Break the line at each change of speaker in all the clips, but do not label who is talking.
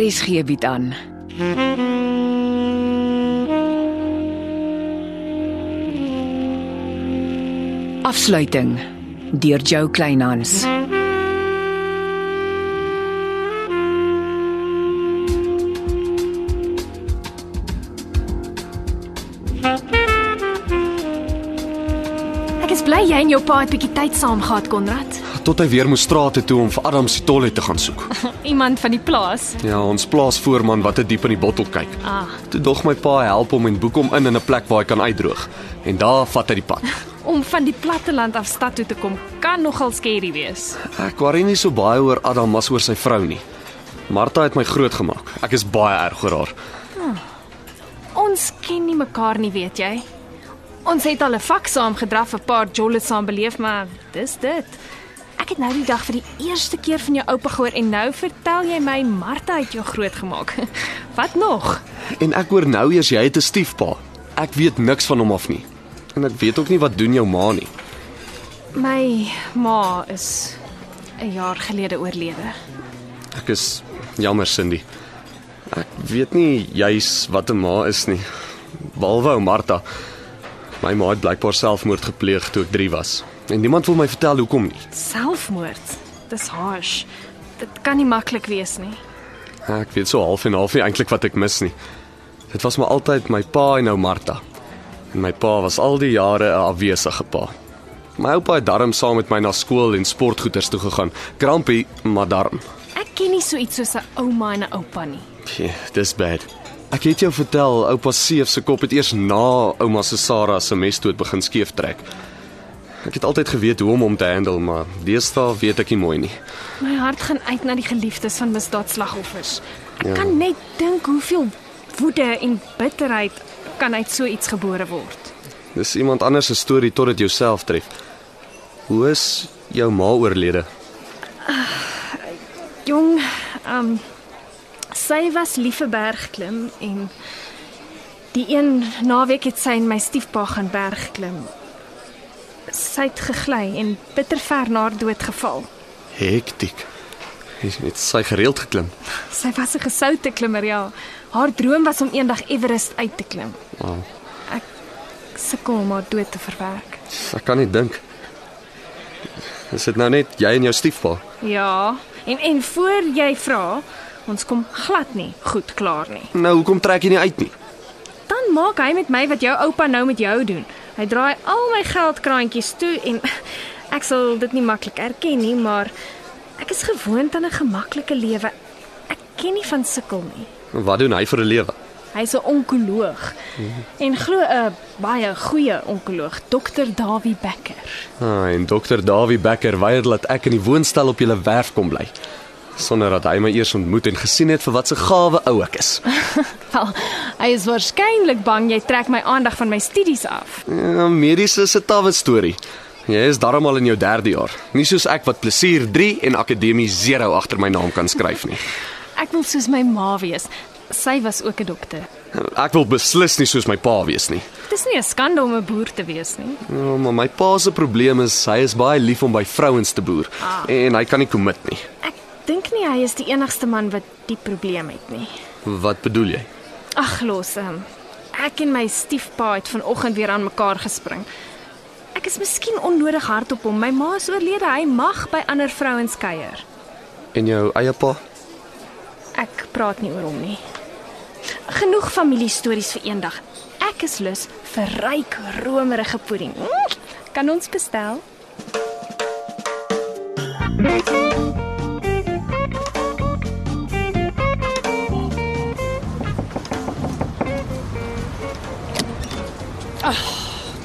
RSG Er bied aan. Afsluiting deur Jo Kleinhans.
Ek is bly jy en jou pa het bietjie tyd saam gehad, Konrad.
Tot hy weer moes strate toe om vir Adam se toilet te gaan soek.
Iemand van die plaas.
Ja, ons plaasvoorman wat te diep in die bottel kyk.
Ah.
Toe dog my pa help hom en boek hom in in 'n plek waar hy kan uitdroog. En daar vat hy die pad.
Om van die platteland af stad toe te kom kan nogal skerry wees.
Ek worry nie so baie oor Adam as oor sy vrou nie. Martha het my grootgemaak. Ek is baie erg oor haar.
Ons ken nie mekaar nie, weet jy. Ons het al 'n vak saam gedraf, 'n paar jollies saam beleef, maar dis dit. Ek het nou die dag vir die eerste keer van jou oupa gehoor en nou vertel jy my Martha het jou grootgemaak. Wat nog?
En ek hoor nou eers jy het 'n stiefpa. Ek weet niks van hom af nie. En ek weet ook nie wat doen jou ma nie.
My ma is 'n jaar gelede oorlede.
Ek is jammer Cindy. Ek weet nie juis wat 'n ma is nie. Behalwe ou Martha. My ma het blykbaar selfmoord gepleeg toe ek 3 was. En niemand wil my vertel hoekom nie.
Selfmoord. Dis harsh. Dit kan nie maklik wees nie.
Ek weet so half en half nie eintlik wat ek mis nie. Dit was maar altyd my pa en ou Martha. En my pa was al die jare 'n afwesige pa. My oupa het darm saam met my na skool en sportgoeders toe gegaan. Krampie, maar darm.
Ek ken nie so iets soos 'n ouma en 'n oupa nie.
Pje, dis bad. Ek het jou vertel, oupa Seef se kop het eers na ouma se Sarah se mesdood begin skeef trek. Ek het altyd geweet hoe om hom te handle, maar deesdae weet ek nie mooi nie.
My hart gaan uit na die geliefdes van misdaadslagoffers. Ek ja. kan net dink hoeveel woede en bitterheid kan uit so iets gebore word.
Dis iemand anders se storie tot dit jouself tref. Hoe is jou ma oorlede?
Jong, ehm um, sy was lief vir bergklim en die een naweek het sy en my stiefpa gaan bergklim. Sy het gegly en bitter ver na haar dood geval.
Hektiek. Het sy gereeld geklim?
Sy was 'n gesoute klimmer, ja. Haar droom was om eendag Everest uit te klim.
Wow.
Ek sukkel om haar dood te verwerk.
Ek kan nie dink. Is dit nou net jy en jou stiefpa?
Ja, en en voor jy vra, ons kom glad nie goed klaar nie.
Nou hoekom trek jy nie uit nie?
Dan maak hy met my wat jou oupa nou met jou doen. Hy draai al my geldkraantjies toe en ek sal dit nie maklik erken nie, maar ek is gewoond aan 'n gemaklike lewe. Ek ken nie van sukkel nie.
Wat doen hy vir 'n lewe?
Hy's 'n onkoloog en glo 'n baie goeie onkoloog, dokter Dawie Becker.
Ah, en dokter Dawie Becker weier dat ek in die woonstel op julle werf kom bly sonder dat hy my eers ontmoet en gesien het vir wat 'n gawe ou ek is.
Wel, hy is waarskynlik bang jy trek my aandag van my studies af.
Ja, mediese se tawe storie. Jy is darm al in jou 3de jaar. Nie soos ek wat plesier 3 en akademie 0 agter my naam kan skryf nie.
Ek wil soos my ma wees. Sy was ook 'n dokter.
Ek wil beslis nie soos my pa wees nie.
Dis nie 'n skande om 'n boer te wees nie.
Ja, maar my pa se probleem is hy is baie lief om by vrouens te boer
Ah.
en hy kan nie commit nie.
Ek dink nie hy is die enigste man wat die probleem het nie.
Wat bedoel jy?
Ag, los hom. Ek en my stiefpa het vanoggend weer aan mekaar gespring. Ek is miskien onnodig hard op hom. My ma is oorlede. Hy mag by ander vrouens kuier.
En jou eie pa?
Ek praat nie oor hom nie. Genoeg familie stories vir eendag. Ek is lus vir ryk romerige pudding. Mm, Kan ons bestel?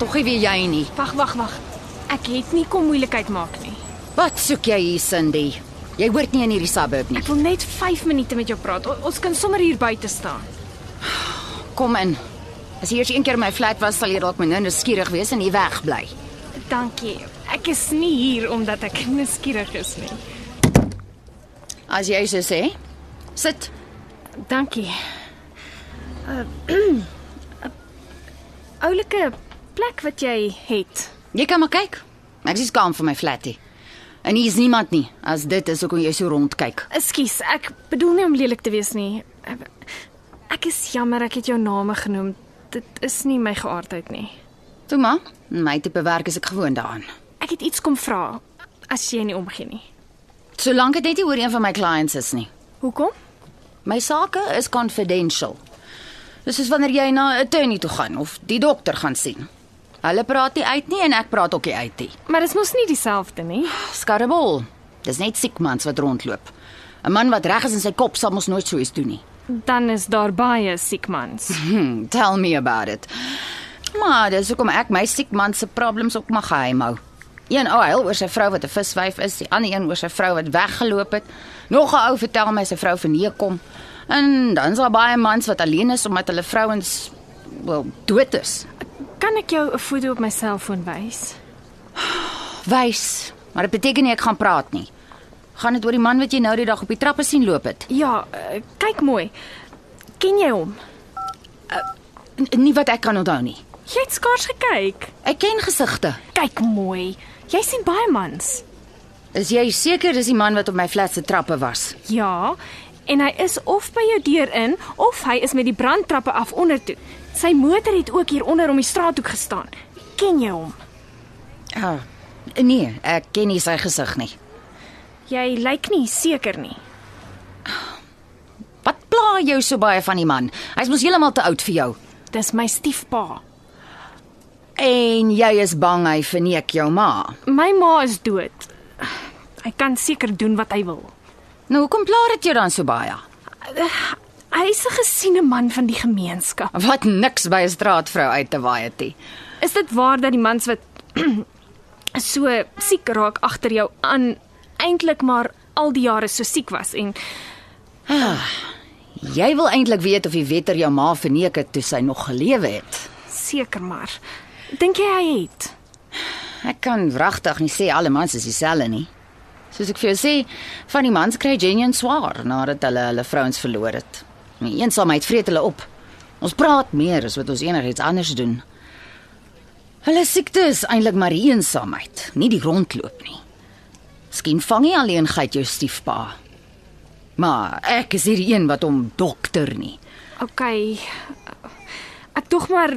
Tog nie weer jy nie.
Wag, wag, wag. Ek het nie kom moeilikheid maak nie.
Wat soek jy hier, Cindy? Jy hoort nie in hierdie suburb nie.
Ek wil net 5 minute met jou praat. O, ons kan sommer hier buite staan.
Kom in. As jy eers een keer in my flat was, sal jy dalk minder nuuskierig wees en hier wegbly.
Dankie. Ek is nie hier omdat ek nuuskierig is nie.
As jy so sê. Sit.
Dankie. Uh, oulike plek wat jy het.
Jy kan maar kyk. Ek is skaam vir my flatie. En hier is niemand nie. As dit is hoekom jy so rondkyk.
Ekskuus, ek bedoel nie om lelik te wees nie. Ek is jammer ek het jou name genoem. Dit is nie my geaardheid nie.
Toe maar, my tipe werk is ek gewoond daaraan.
Ek het iets kom vra as jy nie omgee nie.
Solank dit net nie oor een van my clients is nie.
Hoekom?
My sake is confidential. Dis soos wanneer jy na 'n attorney toe gaan of die dokter gaan sien. Hulle praat nie uit nie en ek praat ook nie uit nie.
Maar dit is mos nie dieselfde nie.
Skarrebol. Dis net siek mans wat rondloop. 'n Man wat reg is in sy kop sal mos nooit so iets doen nie.
Dan is daar baie siek mans.
Hmm, tell me about it. Maar dis hoekom ek my siek man se problems ook mag geheim hou. Een ou huil oor sy vrou wat 'n viswyf is, die ander een oor sy vrou wat weggeloop het. Nog 'n ou vertel my sy vrou verneek kom. En dan is daar baie mans wat alleen is omdat hulle vrouens wel dood is.
Kan ek jou 'n foto op my selfoon wys?
Wys, maar dit beteken nie ek gaan praat nie. Gaan dit oor die man wat jy nou die dag op die trappe sien loop het?
Ja, eh, kyk mooi. Ken jy hom?
N nie wat ek kan onthou nie.
Jy het skaars gekyk.
Ek ken gesigte.
Kyk mooi. Jy sien baie mans.
Is jy seker dis die man wat op my flat se trappe was?
Ja, en hy is of by jou deur in of hy is met die brandtrappe af onder toe. Sy motor het ook hier onder om die straathoek gestaan. Ken jy hom?
Ja. Nee, ek ken nie sy gesig nie.
Jy lyk nie seker nie.
Wat pla jou so baie van die man? Hy's mos heeltemal te oud vir jou.
Dis my stiefpa.
En jy is bang hy verneek jou ma.
My ma is dood. Hy kan seker doen wat hy wil.
Nou hoekom pla dit jou dan so baie?
Hy is 'n gesiene man van die gemeenskap.
Wat niks by 'n straatvrou uit te waai het nie.
Is dit waar dat die mans wat so siek raak agter jou aan eintlik maar al die jare so siek was en
Jy wil eintlik weet of die wetter jou ma verneek het toe sy nog gelewe het.
seker maar dink jy hy het?
Ek kan wragtig nie sê alle mans is dieselfde nie. Soos ek vir jou sê, van die mans kry genuen swaar nadat hulle hulle vrouens verloor het. En die eensaamheid vreet hulle op. Ons praat meer as wat ons enigiets anders doen. Hulle siekte is eintlik maar die eensaamheid, nie die rondloop nie. Miskien vang jy alleenheid jou stiefpa. Maar ek is hierdie een wat hom dokter nie.
OK. Ek tog maar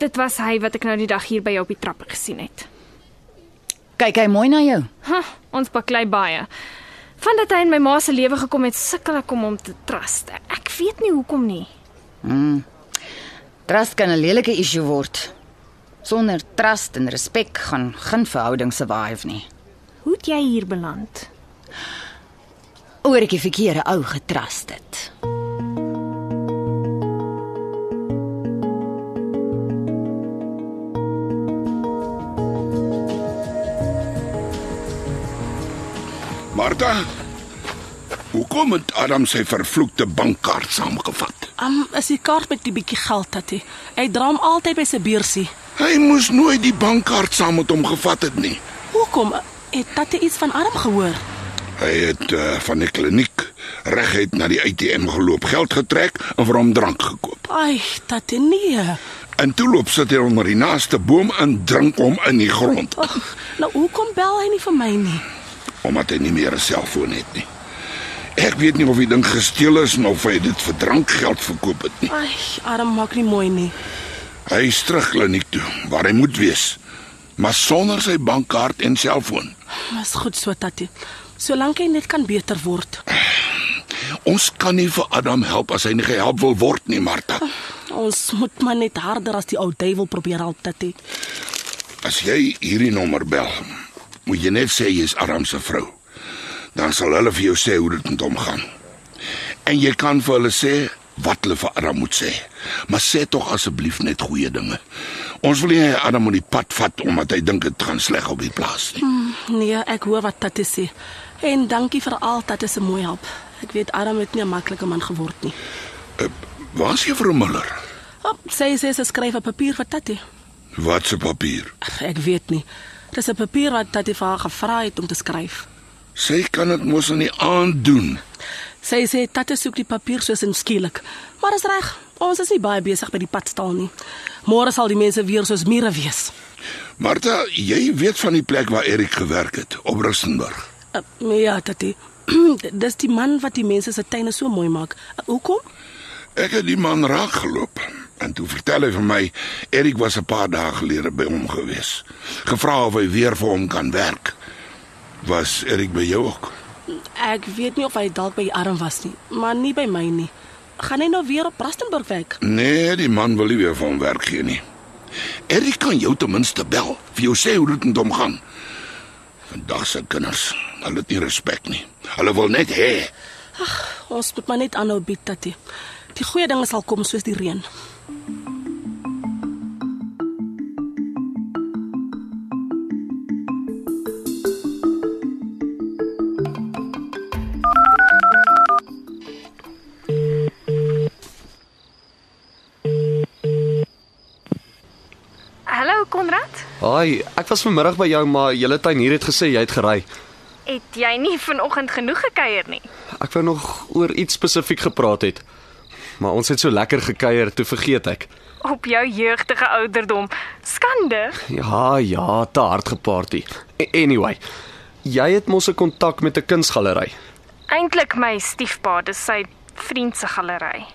dit was hy wat ek nou die dag hier by jou op die trappe gesien het.
Kyk hy mooi na jou.
Ha, ons baklei baie. Vandat hy in my ma se lewe gekom het, sukkel ek om hom te trust. Ek weet nie hoekom nie.
Trust kan 'n lelike issue word. Sonder trust en respek gaan geen verhouding survive nie.
Hoe het jy hier beland?
Oor ek die verkeerde ou getrust het.
Martha, hoekom het Adam sy vervloekte bankkaart saamgevat?
Um, is die kaart met die bietjie geld dat hy. Hy dra hom altyd by sy beursie.
Hy moes nooit die bankkaart saam met hom gevat het nie.
Hoekom? Het tatte iets van Adam gehoor?
Hy het uh, van die kliniek reguit na die ATM geloop, geld getrek en vir hom drank gekoop.
Ai, tatte nee.
En toe loop sit hy onder die naaste boom en drink hom in die grond,
Ag, nou hoekom bel hy nie vir my nie?
omdat hy nie meer 'n selfoon het nie. Ek weet nie of die ding gesteel is en of hy dit vir drankgeld verkoop het nie.
Ai, Adam maak nie mooi nie.
Hy is terug kliniek toe waar hy moet wees, maar sonder sy bankkaart en selfoon.
Dis goed so tatte. Solank hy net kan beter word.
Ons kan nie vir Adam help as hy nie gehelp wil word nie, Martha.
Ons moet maar net harder as die ou duiwel probeer help tatte.
As jy hierdie nommer bel, moet jy net sê jy's Adam se vrou. Dan sal hulle vir jou sê hoe dit met hom gaan. En jy kan vir hulle sê wat hulle vir Adam moet sê. Maar sê tog asseblief net goeie dinge. Ons wil nie hê Adam moet die pad vat omdat hy dink dit gaan sleg op die plaas nie.
Nee, ek hoor wat tatte sê. En dankie vir al tatte se mooi help. Ek weet Adam het nie 'n maklike man geword nie.
Waar's juffrou Miller?
Op, sy sê sy skryf op papier vir tatte.
Wat se papier?
Ag, Ek weet nie. Dis 'n papier wat Tatie vir haar gevra het om te skryf.
Sy kan dit mos in die aand doen.
Sy sê Tatie soek die papier soos in skielik. Maar is reg. Ons is nie baie besig by die padstal nie. Môre sal die mense weer soos mure wees.
Martha, jy weet van die plek waar Erik gewerk het op Rustenburg.
Uh, ja, tatie. Dis die man wat die mense se tuine so mooi maak. Uh, hoekom?
Ek het die man raak geloop en toe vertel hy vir my Erik was 'n paar dae gelede by hom gewees. Gevra of hy weer vir hom kan werk. Was Erik by jou ook?
Ek weet nie of hy dalk by die arm was nie, maar nie by my nie. Gaan hy nou weer op Rustenburg werk?
Nee, die man wil nie weer vir hom werk gee nie. Erik kan jou ten minste bel, vir jou sê hoe dit met hom gaan. Vandag se kinders, hulle het nie respek nie. Hulle wil net hê.
Ons moet maar net aanhou bied, tatie. Die goeie dinge sal kom soos die reën.
Hallo Konrad.
Haai, ek was vanmiddag by jou, maar julle tuin hier het gesê jy het gery.
Het jy nie vanoggend genoeg gekuier nie?
Ek wou nog oor iets spesifiek gepraat het. Maar ons het so lekker gekuier, toe vergeet ek.
Op jou jeugtige ouderdom. Skande.
Ja, ja, te hard geparty. A- Anyway, jy het mos 'n kontak met 'n kunsgalery.
Eintlik my stiefpa, dis sy vriend se galery.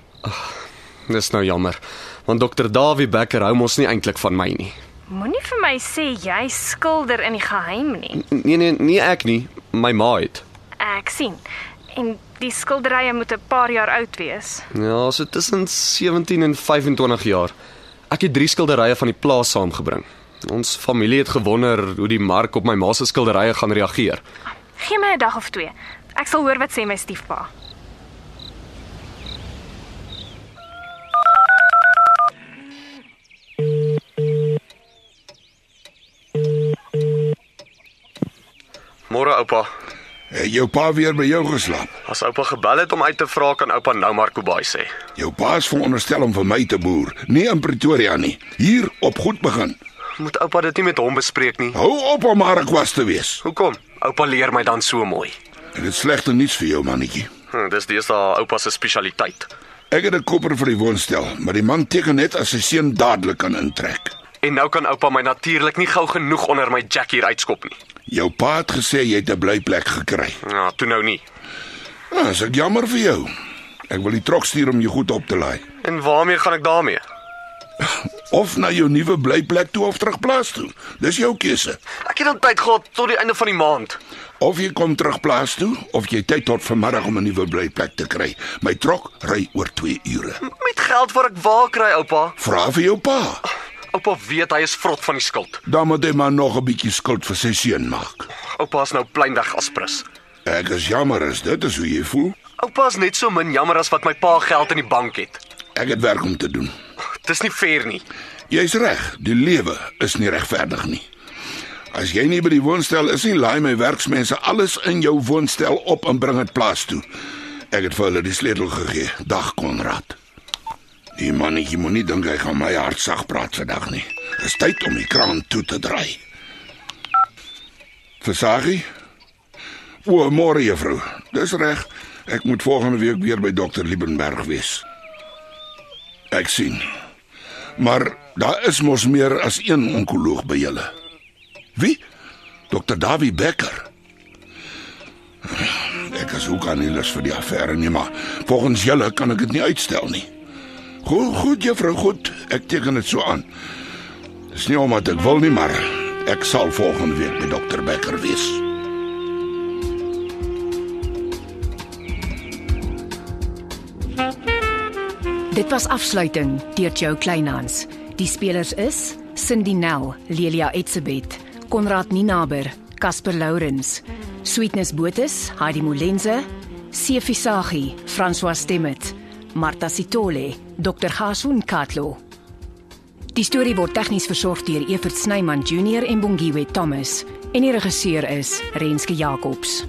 Dis nou jammer, want dokter Dawie Becker hou mos nie eintlik van my nie.
Moenie vir my sê jy skilder in die geheim nie.
Nee nee, nie ek nie, my ma het.
Ek sien. En die skilderye moet 'n paar jaar oud wees.
Ja, so tussen 17 en 25 jaar. Ek het drie skilderye van die plaas saamgebring. Ons familie het gewonder hoe die mark op my ma se skilderye gaan reageer.
Gee my 'n dag of twee. Ek sal hoor wat sê my stiefpa.
Môre oupa,
Het jou pa weer by jou geslaap?
as oupa gebel het om uit te vra kan oupa nou maar Kobai sê.
Jou pa is veronderstel om vir my te boer, nie in Pretoria nie, hier op goed begin.
Moet oupa dit nie met hom bespreek nie.
Hou op om maar 'n kwas te wees.
Hoekom? Oupa leer my dan so mooi.
Dit is slegte nuus vir jou mannetjie.
Hm, dis deesdae oupa se spesialiteit.
Ek het 'n kopper vir die woonstel, maar die man teken net as sy seun dadelik kan intrek.
En nou kan oupa my natuurlik nie gou genoeg onder my jack hier uitskop nie.
Jou pa het gesê jy het 'n blyplek gekry.
Ja, toe nou nie.
Ah, is ek jammer vir jou. Ek wil die trok stuur om jou goed op te laai.
En waarmee gaan ek daarmee?
Of na jou nuwe blyplek toe of terug plaas toe. Dis jou keuse.
Ek het dan tyd gehad tot die einde van die maand.
Of jy kom terug plaas toe of jy tyd tot vanmiddag om 'n nuwe blyplek te kry. My trok ry oor 2 ure.
Met geld wat ek waar kry, oupa.
Vra vir jou pa.
Oupa weet hy is vrot van die skuld.
Dan moet hy maar nog 'n bietjie skuld vir sy seun maak.
Oupa is nou pleinweg aspres.
Ek is jammer as dit is hoe jy voel.
Oupa is net so min jammer as wat my pa geld in die bank het.
Ek het werk om te doen.
Dis nie fair nie.
Jy's reg, die lewe is nie regverdig nie. As jy nie by die woonstel is nie, laai my werksmense alles in jou woonstel op en bring dit plaas toe. Ek het vir hulle die sleutel gegee. Dag Konrad. Die mannetjie moenie dink hy gaan my hart sag praat vandag nie. Dis tyd om die kraan toe te draai. Versagie? O, môre juffrou. Dis reg. Ek moet volgende week weer by dokter Liebenberg wees. Ek sien. Maar daar is mos meer as een onkoloog by julle. Wie? Dr. Dawie Becker. Ek is ook aan die lus vir die affære nie, maar volgens julle kan ek dit nie uitstel nie. Goed, goed juffrou, goed. Ek teken dit so aan. Dis nie omdat ek wil nie, maar ek sal volgende week by Dr. Becker wees.
Dit was afsluiting deur Jo Kleinhans. Die spelers is Cindy Nel, Lelia Etsebet, Konrad Ninaber, Casper Lourens, Sweetness Botus, Heidi Molenze, Sefi Saghi, François Stemmet, Marta Sitole, Dr. Hasun Katlo. Die storie word tegnies versorg deur Evert Snyman Junior en Bongwe Thomas en die regisseur is Renske Jacobs.